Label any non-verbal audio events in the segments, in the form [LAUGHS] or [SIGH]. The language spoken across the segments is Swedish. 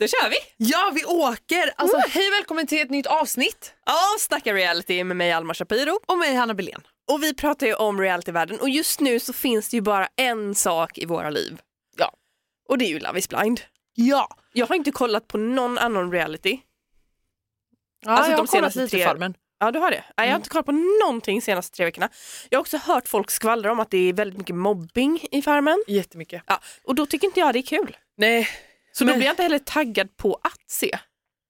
Då kör vi! Ja, vi åker! Alltså, Hej välkommen till ett nytt avsnitt. Ja, snacka reality med mig Alma Shapiro. Och mig, Hanna Belén. Och vi pratar ju om realityvärlden och just nu så finns det ju bara en sak i våra liv. Ja. Och det är ju Love is blind. Ja. Jag har inte kollat på någon annan reality. ja Alltså, jag de har kollat senaste lite tre- för men Ja, du har det. Nej, jag har inte kollat på någonting de senaste tre veckorna. Jag har också hört folk skvallra om att det är väldigt mycket mobbing i Farmen. jättemycket. Ja, och då tycker inte jag det är kul. Nej. Så då Men- blir jag inte heller taggad på att se.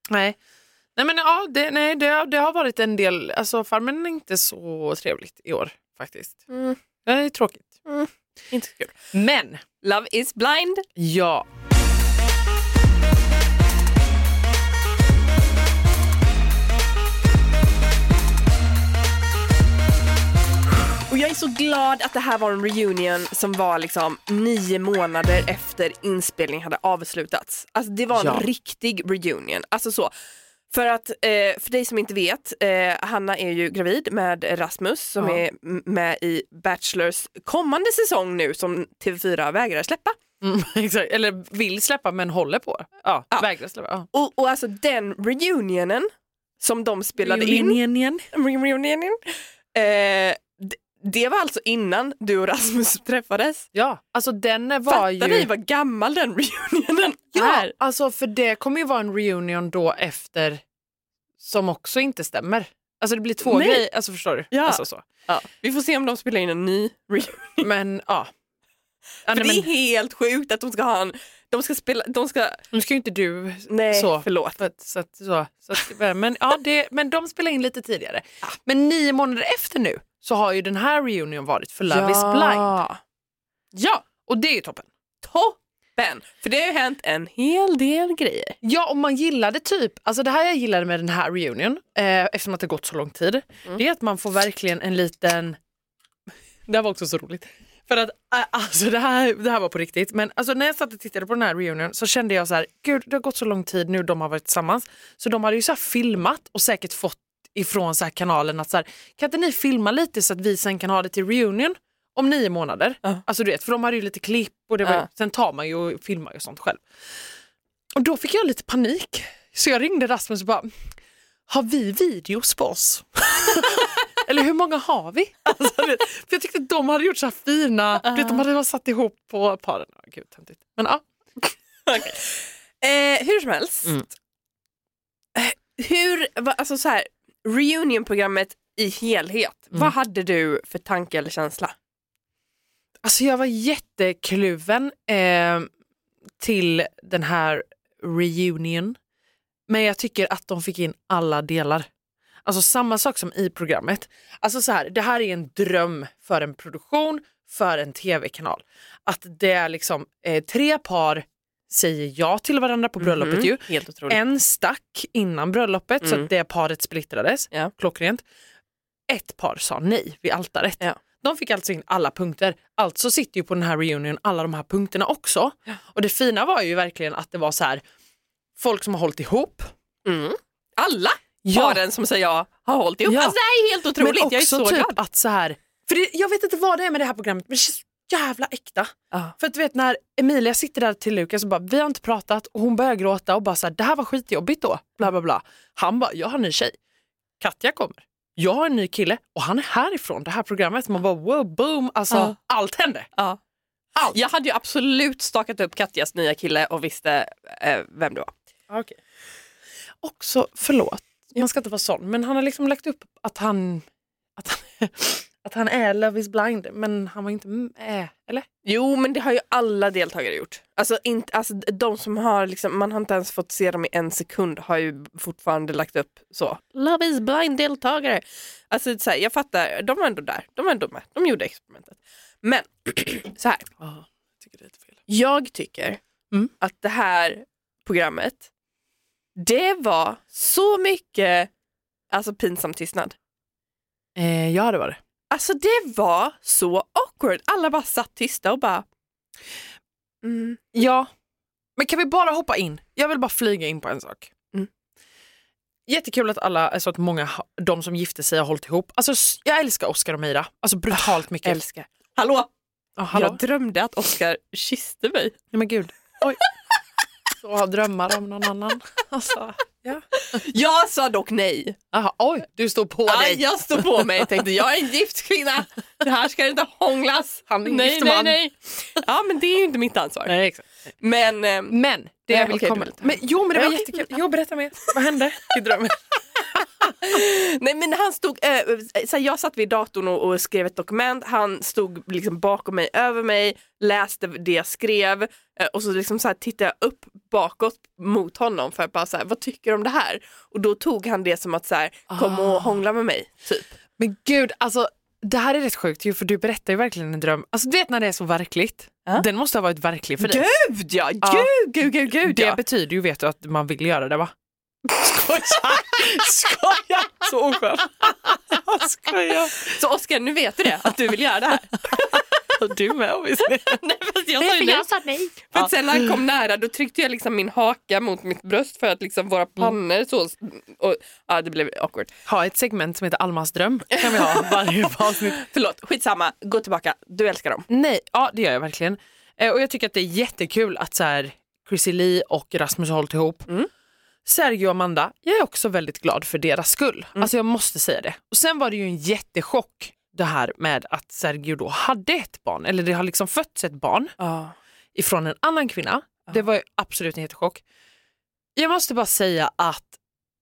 Nej. Nej, men ja, det, nej, det, har- det har varit en del, alltså Farmen är inte så trevligt i år faktiskt. Mm. Det är tråkigt. Inte så kul. Men, Love is blind. ja. Och jag är så glad att det här var en reunion som var liksom nio månader efter inspelningen hade avslutats. Alltså det var en Ja. riktig reunion. Alltså så. För att, eh, för dig som inte vet, eh, Hanna är ju gravid med Rasmus som Ja. är m- med i Bachelors kommande säsong nu som TV4 vägrar släppa. Mm, [LAUGHS] exakt. Eller vill släppa men håller på. Ja, Ja. vägrar släppa. Ja. Och, och alltså den reunionen som de spelade in igen. [LAUGHS] reunionen. Eh, d- det var alltså innan du och Rasmus [LAUGHS] träffades. Ja, alltså den var Fattar ju... ni vad gammal den [LAUGHS] reunionen Ja, är? alltså för det kommer ju vara en reunion då efter som också inte stämmer. Alltså det blir två Nej. grejer, alltså förstår du? Ja. Alltså så. Vi får se om de spelar in en ny reunion. Men [LAUGHS] ja. För ja nej, det är men, helt sjukt att de ska ha en... De ska spela... De ska... nu ska ju inte du Nej, så. förlåt. för att- Så att, så, så att, men, ja, det, men de spelar in lite tidigare. Ah. Men nio månader efter nu så har ju den här reunion varit för Love is blind. Ja, och det är ju toppen. Toppen! För det har ju hänt en hel del [LAUGHS] grejer. Ja, och man gillade typ, alltså det här jag gillade med den här reunion, eh, eftersom att det gått så lång tid, Mm. det är att man får verkligen en liten... Det här var också så roligt. För att, eh, alltså det här, det här var på riktigt, men alltså när jag satt och tittade på den här reunion så kände jag så här, gud det har gått så lång tid nu de har varit tillsammans, så de hade ju så här filmat och säkert fått ifrån så här kanalen att så här, kan inte ni filma lite så att vi sen kan ha det till reunion om nio månader? Ja. Alltså du vet, för de hade ju lite klipp och det var, Ja. sen tar man ju och filmar ju och sånt själv. Och då fick jag lite panik. Så jag ringde Rasmus och bara, har vi videos på oss? [LAUGHS] Eller hur många har vi? Alltså, du vet, för jag tyckte att de hade gjort så här fina, du vet, de hade bara satt ihop på paren. Ja, Gud, töntigt. Men ja, Eh, hur som helst. Mm. Eh, Hur... va- Alltså så här, reunionprogrammet i helhet. Mm. Vad hade du för tanke eller känsla? alltså jag var jättekluven eh, till den här reunion. Men jag tycker att de fick in alla delar. Alltså samma sak som i programmet. Alltså så här, det här är en dröm för en produktion, för en tv-kanal. Att det är liksom eh, tre par säger ja till varandra på bröllopet Mhm. ju. Helt otroligt. En stack innan bröllopet så Mm. att det paret splittrades. Ja. Klockrent. Ett par sa nej vid altaret. Ja. De fick alltså in alla punkter. Alltså sitter ju på den här reunion alla de här punkterna också. Och det fina var ju verkligen att det var så här folk som har hållit ihop. Mm. Alla Ja. paren som säger jag har hållit ihop. Ja. Alltså, det här är helt otroligt. Men också jag är så typ glad. att så här, för det, jag vet inte vad det är med det här programmet men det känns jävla äkta. För att du vet när Emilia sitter där till Lukas och bara vi har inte pratat och hon börjar gråta och bara så här, det här var skitjobbigt då. Bla bla bla. Han bara jag har en ny tjej. Katja kommer. Jag har en ny kille och han är härifrån det här programmet. Man bara wow boom alltså Ja. allt hände. Ja. Jag hade ju absolut stakat upp Katjas nya kille och visste eh, vem det var. Okay. Också förlåt man ska inte vara sån men han har liksom lagt upp att han att han, [LAUGHS] att han är Love is blind men han var inte med eller? Jo, men det har ju alla deltagare gjort. Alltså, inte, alltså de som har liksom, man har inte ens fått se dem i en sekund har ju fortfarande lagt upp så. Love is blind deltagare. Alltså så här, jag fattar, de var ändå där, de var ändå med, de gjorde experimentet. Men [CLEARS THROAT] så här, Ja, jag tycker det är lite fel. Jag tycker Mm. att det här programmet, det var så mycket alltså pinsam tystnad. Eh, ja, det var det. Alltså det var så awkward. Alla bara satt tysta och bara... Mm. Ja. Men kan vi bara hoppa in? Jag vill bara flyga in på en sak. Mm. Jättekul att alla, alltså att många, ha- de som gifte sig har hållit ihop. Alltså, s- jag älskar Oscar och Mira. Alltså brutalt mycket. Älskar. Hallå! Ja, hallå? Jag drömde att Oscar kysste mig. [LAUGHS] Nej men gud. Oj. så har drömmar om någon annan. Alltså, ja. Jag sa dock nej. Aha, oj, du står på Ja, dig. jag stod på mig och tänkte jag är en gift kvinna. Det här ska inte hånglas. Han är en Nej, gift nej, man. nej. Ja, men det är ju inte mitt ansvar. Nej, exakt. Men, ehm, Men det Nej, jag vill okej, komma... berätta. Men, jo, men det var Ja, jättekul. Jo, berätta mer. Vad [LAUGHS] hände i drömmen? nej, men han stod, eh, så här, jag satt vid datorn och, och skrev ett dokument. Han stod liksom bakom mig, över mig, läste det jag skrev eh, och så, liksom så här, tittade jag upp bakåt mot honom för att bara så här, vad tycker du om det här? Och då tog han det som att så här, kom och hångla med mig. Typ. Men gud, alltså det här är rätt sjukt ju för du berättar ju verkligen en dröm. Alltså du vet när det är så verkligt. Ja. Den måste ha varit verklig för dig. Gud ja, gud, Ja. gud, gud, gud det ja. betyder ju vet du att man vill [LAUGHS] göra det va? Skojar! [LAUGHS] Skojar! Så oskönt. Jag skojar. Så Oskar, nu vet du det, att du vill göra det här. Du med obviously. Nej, fast jag sa ju nej. sa nej. För Ja. att sen när han kom nära då tryckte jag liksom min haka mot mitt bröst för att liksom våra pannor så... Och, ja, det blev awkward. Ha ett segment som heter Almas dröm. kan vi ha [LAUGHS] varje avsnitt. Förlåt, skitsamma. Gå tillbaka. Du älskar dem. Nej, ja det gör jag verkligen. Eh, och jag tycker att det är jättekul att så här, Chrissy Lee och Rasmus har hållit ihop. Mm. Sergio och Amanda, jag är också väldigt glad för deras skull. Alltså jag måste säga det. Och sen var det ju en jättechock det här med att Sergio då hade ett barn, eller det har liksom fötts ett barn Ja. ifrån en annan kvinna. Det var ju absolut en jättechock. Jag måste bara säga att,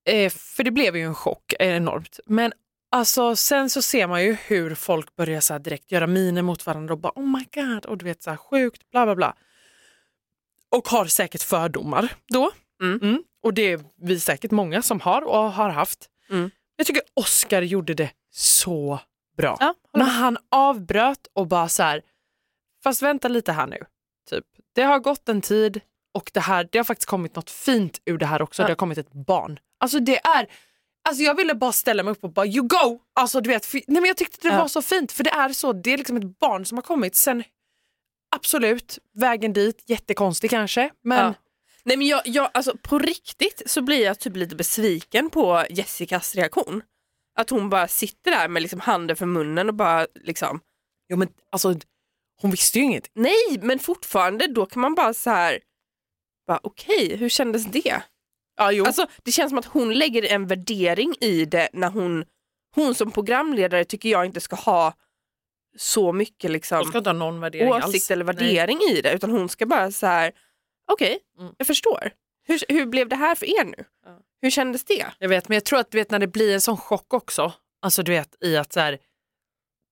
eh, för det blev ju en chock eh, enormt, men alltså sen så ser man ju hur folk börjar så här direkt göra miner mot varandra och bara oh my god och du vet så här sjukt bla bla bla. Och har säkert fördomar då. Mm. Och det är vi säkert många som har och har haft. Mm. Jag tycker Oscar gjorde det så bra. Ja, När han avbröt och bara så här, fast vänta lite här nu. Typ. Det har gått en tid och det, här, det har faktiskt kommit något fint ur det här också. Ja. Det har kommit ett barn. Alltså det är, alltså jag ville bara ställa mig upp och bara you go! Alltså du vet, för, nej men jag tyckte det Ja. var så fint för det är så, det är liksom ett barn som har kommit sen Absolut, vägen dit, jättekonstig kanske. Men Ja. Nej men jag, jag, alltså på riktigt så blir jag typ lite besviken på Jessicas reaktion. Att hon bara sitter där med liksom handen för munnen och bara liksom Jo, men, alltså, hon visste ju inget. Nej, men fortfarande då kan man bara så här, bara okej, hur kändes det? Ja, jo. Alltså, det känns som att hon lägger en värdering i det när hon, hon som programledare tycker jag inte ska ha så mycket hon liksom, ska inte ha någon värdering alls. åsikt eller värdering i det utan hon ska bara så här, okej, Mm. jag förstår. Hur, hur blev det här för er nu? Ja. Hur kändes det? Jag vet, men jag tror att du vet, när det blir en sån chock också, alltså du vet i att så här,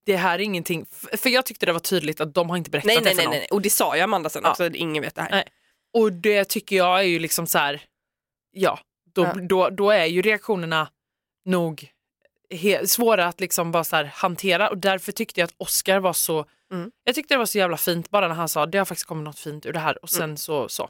det här är ingenting, f- för jag tyckte det var tydligt att de har inte berättat Nej, det nej, för nej, någon. nej, och det sa jag Amanda sen Ja. också, ingen vet det här. Nej. Och det tycker jag är ju liksom så här, ja, då, Ja. Då, då är ju reaktionerna nog he- svåra att liksom bara så här hantera och därför tyckte jag att Oscar var så, Mm. jag tyckte det var så jävla fint bara när han sa det har faktiskt kommit något fint ur det här och Mm. sen så, så.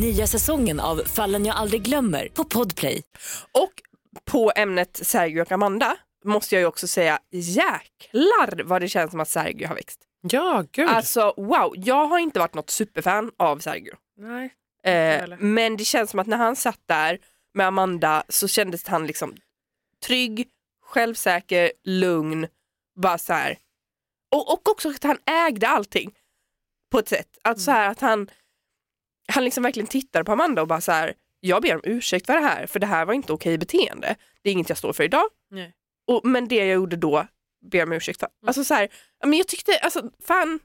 Nya säsongen av Fallen jag aldrig glömmer på Podplay. Och på ämnet Sergio och Amanda måste jag ju också säga jäklar vad det känns som att Sergio har växt. Ja, gud. Alltså wow, jag har inte varit något superfan av Sergio. Nej. jag Eh, heller. men det känns som att när han satt där med Amanda så kändes han liksom trygg, självsäker, lugn, bara så här. Och, och också att han ägde allting på ett sätt. Att, så Mm. här, att han, han liksom verkligen tittar på Amanda och bara så här, jag ber om ursäkt för det här, för det här var inte okej beteende. Det är inget jag står för idag. Nej. Mm. Och, men det jag gjorde då ber jag om ursäkt för. Alltså så här, ja, men jag tyckte, alltså fan,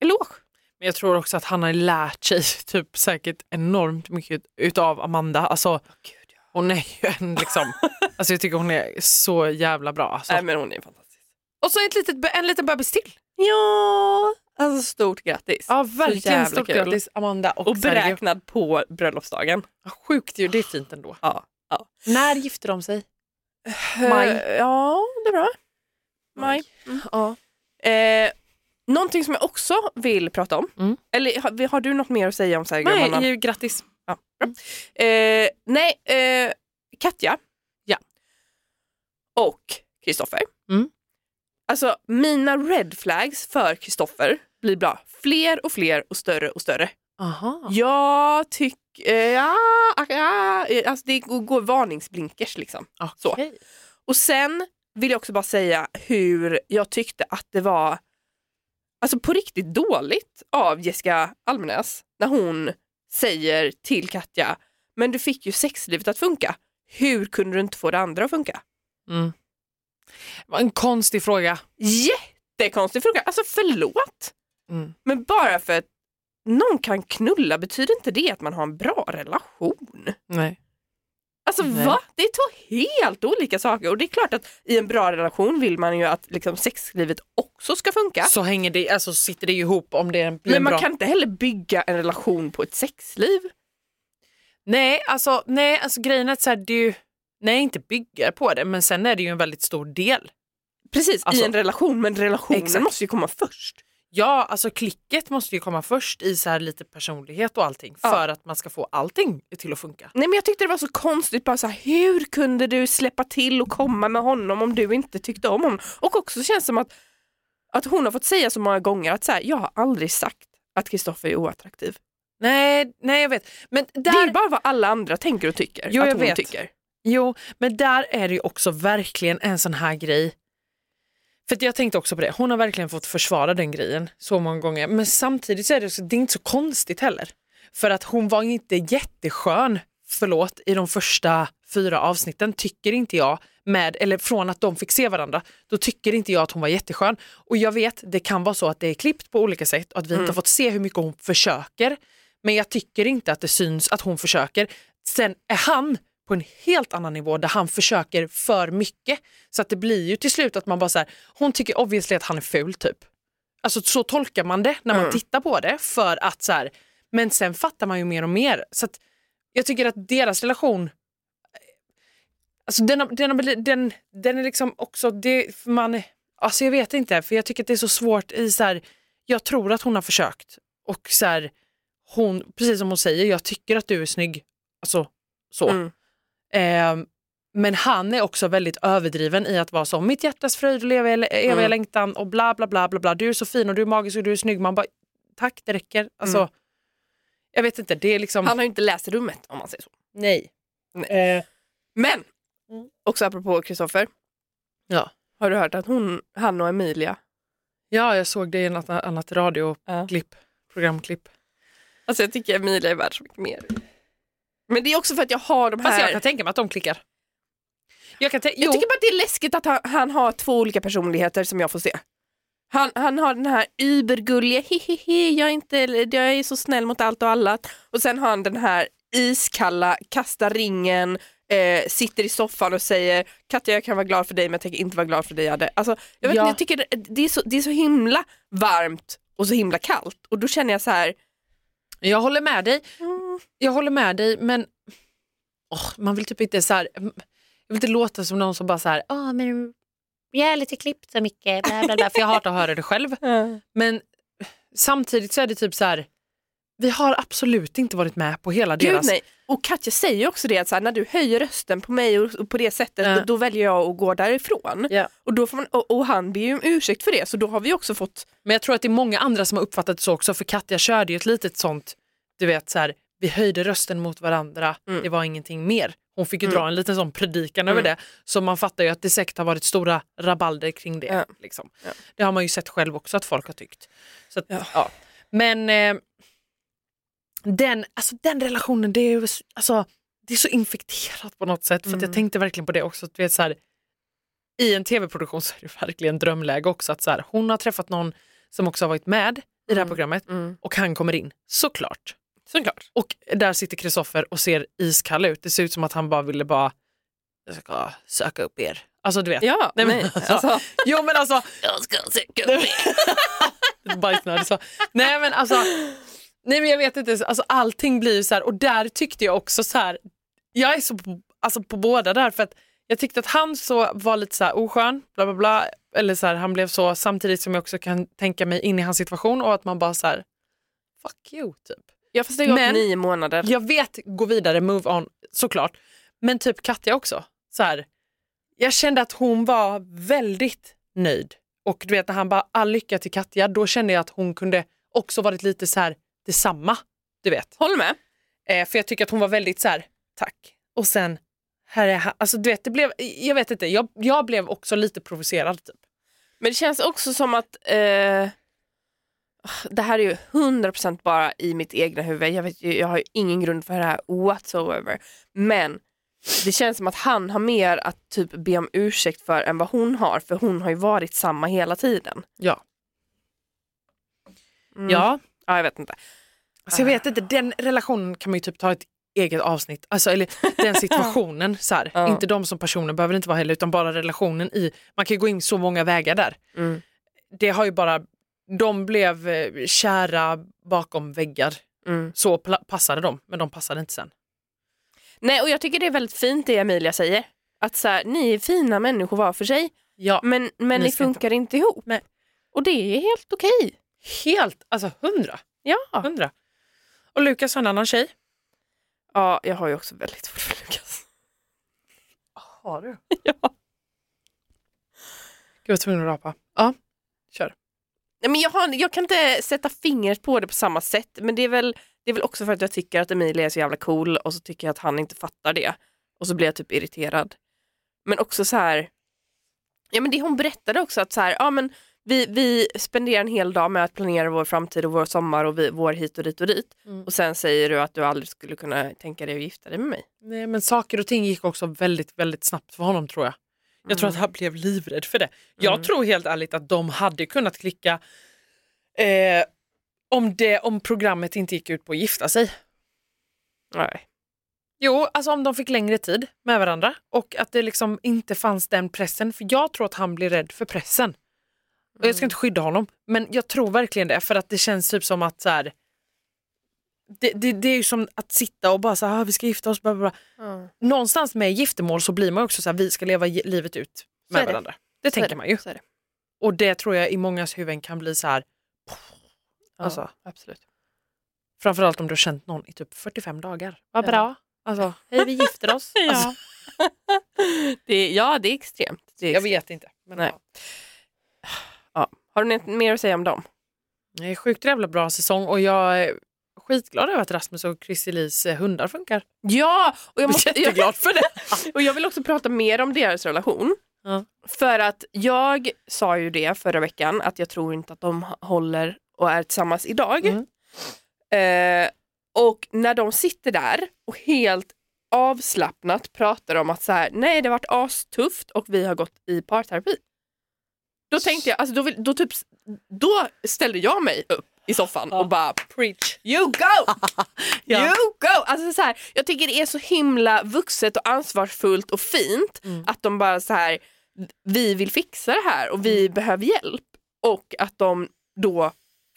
eloge. Men jag tror också att han har lärt sig [LAUGHS] typ säkert enormt mycket utav Amanda. Alltså, hon är ju en [LAUGHS] liksom, alltså jag tycker hon är så jävla bra. Alltså. Nej men hon är fantastisk. Och så ett litet, en liten bebis till. Ja, alltså stort grattis. Ja Så verkligen, jävla stort kul. grattis Amanda och, och Sergio. beräknad på bröllopsdagen. Ja, Sjukt ju, det är fint ändå. Ja. ja. När gifte de sig? Eh, Ja, det är bra. Maj. Mm. Ja. Eh, någonting som jag också vill prata om, Mm. eller har, har du något mer att säga om Sergio? Nej, Amanda? ju, grattis. Ja, bra. Eh, nej, eh, Katja. Ja. Och Kristoffer. Mm. Alltså mina red flags för Kristoffer blir bra. Fler och fler och större och större. Aha. Jag tycker, ja, ja, eh, alltså det går varningsblinkers liksom. Så. Okej. Och sen vill jag också bara säga hur jag tyckte att det var alltså på riktigt dåligt av Jessica Almenäs när hon säger till Katja, men du fick ju sexlivet att funka. Hur kunde du inte få det andra att funka? Mm. Det var en konstig fråga. Jättekonstig fråga. Alltså förlåt, Mm. men bara för att någon kan knulla betyder inte det att man har en bra relation. Nej. Alltså Nej. va? Det är två helt olika saker och det är klart att i en bra relation vill man ju att liksom, sexlivet också ska funka. Så hänger det, alltså sitter det ihop om det blir Men en man bra... kan inte heller bygga en relation på ett sexliv. Nej, alltså, nej, alltså grejen är att så här, det är ju... Nej, inte bygga på det, men sen är det ju en väldigt stor del. Precis, Alltså- i en relation, men relationen Exakt. måste ju komma först. Ja, alltså klicket måste ju komma först i så här lite personlighet och allting Ja. för att man ska få allting till att funka. Nej men jag tyckte det var så konstigt, bara så här, hur kunde du släppa till och komma med honom om du inte tyckte om honom? Och också känns som att, att hon har fått säga så många gånger att så här, jag har aldrig sagt att Kristoffer är oattraktiv. Nej, nej jag vet. Men Det är ju där, bara vad alla andra tänker och tycker Jo, att jag hon vet. tycker. jo, men där är det ju också verkligen en sån här grej. För att jag tänkte också på det, hon har verkligen fått försvara den grejen så många gånger. Men samtidigt så är det, också, det är inte så konstigt heller. För att hon var inte jätteskön, förlåt, i de första fyra avsnitten tycker inte jag, med, eller från att de fick se varandra, då tycker inte jag att hon var jätteskön. Och jag vet, det kan vara så att det är klippt på olika sätt och att vi inte har fått se hur mycket hon försöker. Men jag tycker inte att det syns att hon försöker. Sen är han på en helt annan nivå där han försöker för mycket. Så att det blir ju till slut att man bara så här, hon tycker obviously att han är ful typ. Alltså så tolkar man det när man tittar på det för att så här, men sen fattar man ju mer och mer. Så att jag tycker att deras relation, eh, alltså den, har- den, har- den, den är liksom också, det, för man, alltså jag vet inte, för jag tycker att det är så svårt i så här, jag tror att hon har försökt och så här, hon, precis som hon säger, jag tycker att du är snygg, alltså så. Mm. Eh, men han är också väldigt överdriven i att vara så, mitt hjärtas fröjd och leva i eviga Mm. längtan och bla bla bla bla bla, du är så fin och du är magisk och du är snygg. Man bara, tack det räcker. Alltså, Jag vet inte, det är liksom, Mm. Han har ju inte läst rummet om man säger så. nej. Eh, Men, också apropå Kristoffer. Mm. Ja. Har du hört att hon, han och Emilia, ja, jag såg det i något annat radioklipp, programklipp. alltså jag tycker Emilia är värd så mycket mer. Men det är också för att jag har de här... Fast jag kan tänka mig att de klickar. Jag kan tän- Jag jo. tycker bara att det är läskigt att han, han har två olika personligheter som jag får se. Han, han har den här übergulliga, hehehe, jag är, inte, jag är så snäll mot allt och alla. Och sen har han den här iskalla, kasta ringen, eh, sitter i soffan och säger Katja jag kan vara glad för dig men jag tänker inte vara glad för dig Adde. Alltså, jag, vet, Ja. inte, jag tycker det, det, är så, det är så himla varmt och så himla kallt och då känner jag så här, Jag håller med dig. Jag håller med dig, men åh, man vill typ inte så här, jag vill inte låta som någon som bara så här, "Ah, men jag är lite klippt så mycket, bla, bla, bla. för jag hatar att höra det själv. Men samtidigt så är det typ så här, vi har absolut inte varit med på hela gud deras... nej. Och Katja säger ju också det att så här, när du höjer rösten på mig och, och på det sättet Ja. då, då väljer jag att gå därifrån. Ja. Och, då får man, och, och han ber ju om ursäkt för det, så då har vi också fått... Men jag tror att det är många andra som har uppfattat det så också, för Katja körde ju ett litet sånt, du vet så här, vi höjde rösten mot varandra, Mm. det var ingenting mer. Hon fick ju dra en liten sån predikan över det, så man fattar ju att det säkert har varit stora rabalder kring det. Ja. Liksom. Ja. Det har man ju sett själv också att folk har tyckt. Så att, ja. Ja. Men eh, den, alltså, den relationen, det är, ju s- alltså, det är så infekterat på något sätt, för att jag Mm. tänkte verkligen på det också. att Du vet, så här, I en tv-produktion så är det verkligen drömläge också, att så här, hon har träffat någon som också har varit med i det här Mm. programmet Mm. och han kommer in, såklart. Såklart. Och där sitter Kristoffer och ser iskall ut. Det ser ut som att han bara ville bara, jag ska söka upp er. Alltså du vet. Ja, Nej, nej, men men, alltså. alltså, Jo men alltså, Jag ska söka upp bajsnödig så. Nej men alltså, nej men jag vet inte, alltså, allting blir ju så här och där tyckte jag också så här, jag är så på, alltså, på båda där för att jag tyckte att han så var lite så här oskön, bla bla bla, eller så här, han blev så samtidigt som jag också kan tänka mig in i hans situation och att man bara så här, fuck you typ. Jag får stänga av Men- nio månader. Jag vet, gå vidare, move on, såklart. Men typ Katja också. Så här, jag kände att hon var väldigt nöjd. Och du vet när han bara, all lycka till Katja, då kände jag att hon kunde också varit lite så här, detsamma. Du vet. Håller med. Eh, för jag tycker att hon var väldigt så här, tack. Och sen, här är han. Alltså du vet, det blev, jag vet inte, jag, jag blev också lite provocerad. Typ. Men det känns också som att eh, ah, det här är ju 100% bara i mitt egna huvud. Jag, vet, ju- jag har ju ingen grund för det här whatsoever. Men det känns som att han har mer att typ be om ursäkt för än vad hon har. För hon har ju varit samma hela tiden. Ja. Mm. Ja, ja, jag vet inte. Alltså jag vet inte, den relationen kan man ju typ ta ett eget avsnitt, alltså, eller [LAUGHS] den situationen. så här. Ja. Inte de som personer behöver det inte vara heller, utan bara relationen i, man kan ju gå in så många vägar där. Mm. Det har ju bara, de blev eh, kära bakom väggar, Mm. så pla- passade de, men de passade inte sen. Nej, och jag tycker det är väldigt fint det Emilia säger. Att så här, ni är fina människor var för sig, Ja, men, men Ni ni, ska inte- funkar inte, ihop. Nej. Och det är helt okej. helt, alltså hundra, Ja. hundra. Och Lukas har en annan tjej. ja, jag har ju också väldigt svårt för Lukas. Har du? Ja. Gud, jag var tvungen att rapa. Ja, kör. Nej, men jag, har, jag kan inte sätta fingret på det på samma sätt, men det är, väl, det är väl också för att jag tycker att Emilia är så jävla cool och så tycker jag att han inte fattar det. Och så blir jag typ irriterad. Men också så här, ja men det hon berättade också att så här, ja men vi, vi spenderar en hel dag med att planera vår framtid och vår sommar och vi, vår hit och dit och dit. Mm. Och sen säger du att du aldrig skulle kunna tänka dig att gifta dig med mig. Nej, men saker och ting gick också väldigt, väldigt snabbt för honom tror jag. Jag tror att han blev livrädd för det. Jag tror helt ärligt att de hade kunnat klicka eh, om, det, om programmet inte gick ut på att gifta sig. Nej. Jo, alltså om de fick längre tid med varandra och att det liksom inte fanns den pressen. För jag tror att han blir rädd för pressen. Och jag ska inte skydda honom, men jag tror verkligen det för att det känns typ som att så här, det, det, det är ju som att sitta och bara så här, "Ah, vi ska gifta oss, bla, bla, bla någonstans med giftermål så blir man också så här, vi ska leva ge- livet ut Så är med det. varandra. Så Det är tänker det. man ju. Så är det. Och det tror jag i mångas huvuden kan bli så här, Ja, Alltså. absolut. framförallt om du har känt någon i typ 45 dagar. Vad Ja. bra. Alltså, hej [LAUGHS] vi gifter oss. Alltså, [LAUGHS] Det är, ja, det är extremt. Det är jag extremt. vet inte. Men Nej. Nej. Har du något mer att säga om dem? Det är sjukt jävla bra säsong och jag är skitglad över att Rasmus och Chrisselis eh, hundar funkar. [LAUGHS] Ja, och jag, Jag är måste, jag, jätteglad för det. och jag vill också prata mer om deras relation. Ja. För att jag sa ju det förra veckan att jag tror inte att de håller och är tillsammans idag. Mm. Eh, och när de sitter där och helt avslappnat pratar om att så här, nej det har varit astufft och vi har gått i parterapi. Då tänkte jag, alltså då, vill, då, typ, då ställde jag mig upp i soffan och bara Preach. You go! [LAUGHS] Ja. You go! Alltså så här, jag tycker det är så himla vuxet och ansvarsfullt och fint Mm. att de bara så här, vi vill fixa det här och vi Mm. behöver hjälp. Och att de då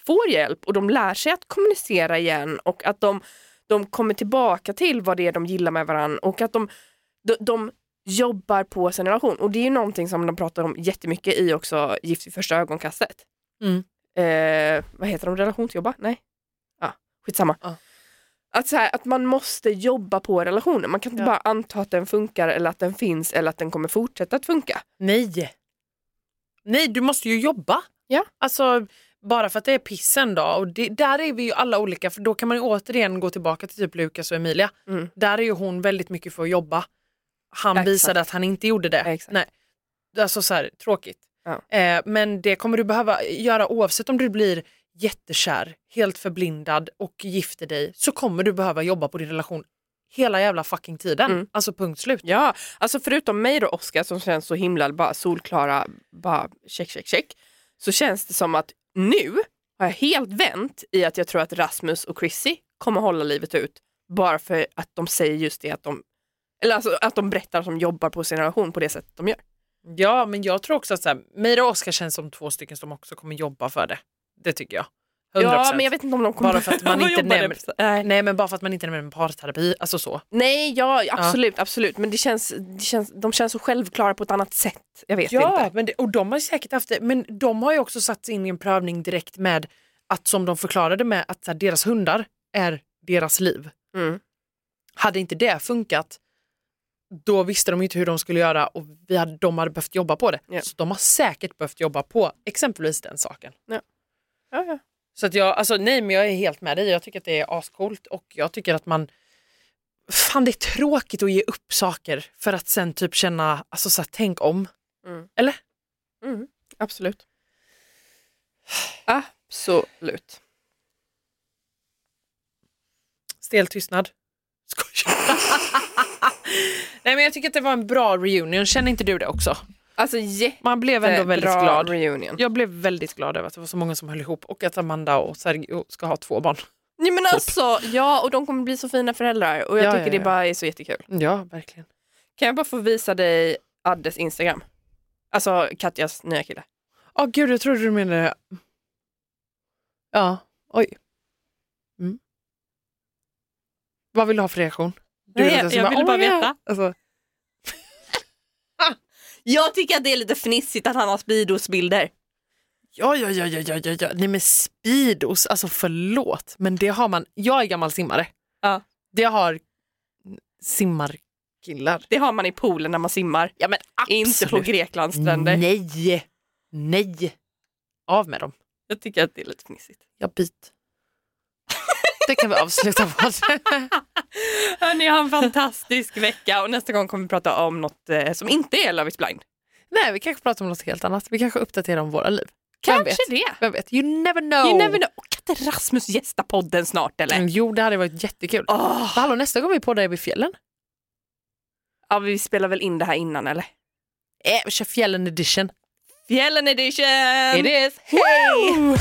får hjälp och de lär sig att kommunicera igen och att de, de kommer tillbaka till vad det är de gillar med varandra och att de, de, de jobbar på sin relation. Och det är ju någonting som de pratar om jättemycket i också Gift vid första ögonkastet. Mm. Eh, vad heter de? Relationsjobba? Nej. Skitsamma. Ja. Att, så här, att man måste jobba på relationen. Man kan inte Ja. bara anta att den funkar eller att den finns eller att den kommer fortsätta att funka. Nej. Nej, du måste ju jobba. Ja. Alltså, bara för att det är piss en dag. Och det, där är vi ju alla olika, för då kan man ju återigen gå tillbaka till typ Lukas och Emilia. Mm. Där är ju hon väldigt mycket för att jobba. Han Exakt. visade att han inte gjorde det. Exakt. Nej. Alltså så här, tråkigt. Ja. Eh, men det kommer du behöva göra oavsett om du blir jättekär, helt förblindad och gifter dig så kommer du behöva jobba på din relation hela jävla fucking tiden. Mm. Alltså punkt slut. Ja, alltså förutom mig och Oskar som känns så himla bara solklara, bara check, check, check. Så känns det som att nu har jag helt vänt i att jag tror att Rasmus och Chrissy kommer hålla livet ut bara för att de säger just det att de, eller alltså att de berättar att de jobbar på sin relation på det sättet de gör. Ja, men jag tror också att så här, Mira och Oskar känns som två stycken som också kommer jobba för det. Det tycker jag. 100%. Ja, men jag vet inte om de kommer Bara för [LAUGHS] att man behöva jobba inte det. nämner- Nej. Nej, men bara för att man inte nämner parterapi, alltså så. Nej, ja absolut, absolut. Men det känns, det känns, de känns så självklara på ett annat sätt. Jag vet inte. men det, och de har säkert haft det, men de har ju också satt sig in i en prövning direkt med att som de förklarade med att så här, deras hundar, är deras liv. Mm. Hade inte det funkat, då visste de inte hur de skulle göra och vi hade, de hade behövt jobba på det. Ja. Så de har säkert behövt jobba på exempelvis den saken. Ja, ja. Så att jag, alltså, nej men jag är helt med dig, jag tycker att det är ascoolt och jag tycker att man Fan det är tråkigt att ge upp saker för att sen typ känna, alltså så här, tänk om. Mm. Eller? Mm. Absolut. Absolut. Stel tystnad. [LAUGHS] Skoj. nej men jag tycker att det var en bra reunion, känner inte du det också? Alltså jättebra Man blev ändå väldigt glad. reunion. Jag blev väldigt glad över att det var så många som höll ihop och att Amanda och Sergio ska ha två barn. Nej, men alltså, ja, och de kommer bli så fina föräldrar och jag Ja, tycker ja, det ja. bara är så jättekul. Ja, verkligen. Kan jag bara få visa dig Addes Instagram? Alltså Katjas nya kille. Åh gud, jag trodde du menade... Ja, oj. Mm. Vad vill du ha för reaktion? Du Nej, är den som jag ville "Oh bara my God." veta. Alltså, Jag tycker att det är lite fnissigt att han har Speedos bilder. ja, ja, ja, ja, ja, ja, ja. Nej men Speedos, alltså förlåt. Men det har man, jag är gammal simmare. Ja. Det har simmarkillar. Det har man i poolen när man simmar. Ja men Inte på Greklands stränder. Nej, nej. Av med dem. Jag tycker att det är lite fnissigt. Jag byt. [LAUGHS] Det kan vi avsluta på. Hörni, ha en [LAUGHS] fantastisk vecka och nästa gång kommer vi prata om något eh, som inte är Love is blind. Nej, vi kanske pratar om något helt annat. Vi kanske uppdaterar om våra liv. Vem Kanske vet? det. Vem vet? You never know. You never know. Och kan inte Rasmus gästa podden snart eller? Mm, Jo, det hade varit jättekul. Åh. Hallå, nästa gång vi poddar är vi i fjällen. Ja, vi spelar väl in det här innan eller? Eh, vi kör fjällen edition. Fjällen edition! It is. Hej!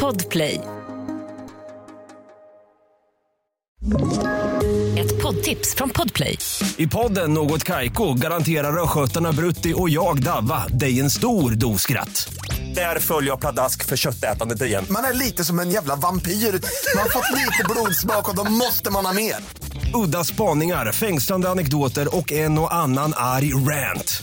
Podplay. Ett poddtips från Podplay. I podden Något Kaiko garanterar östgötarna Brutti och jag, Davva, dig en stor dos skratt. Där följer jag pladask för köttätandet igen. Man är lite som en jävla vampyr. Man har fått lite blodsmak och då måste man ha mer. Udda spaningar, fängslande anekdoter och en och annan arg rant.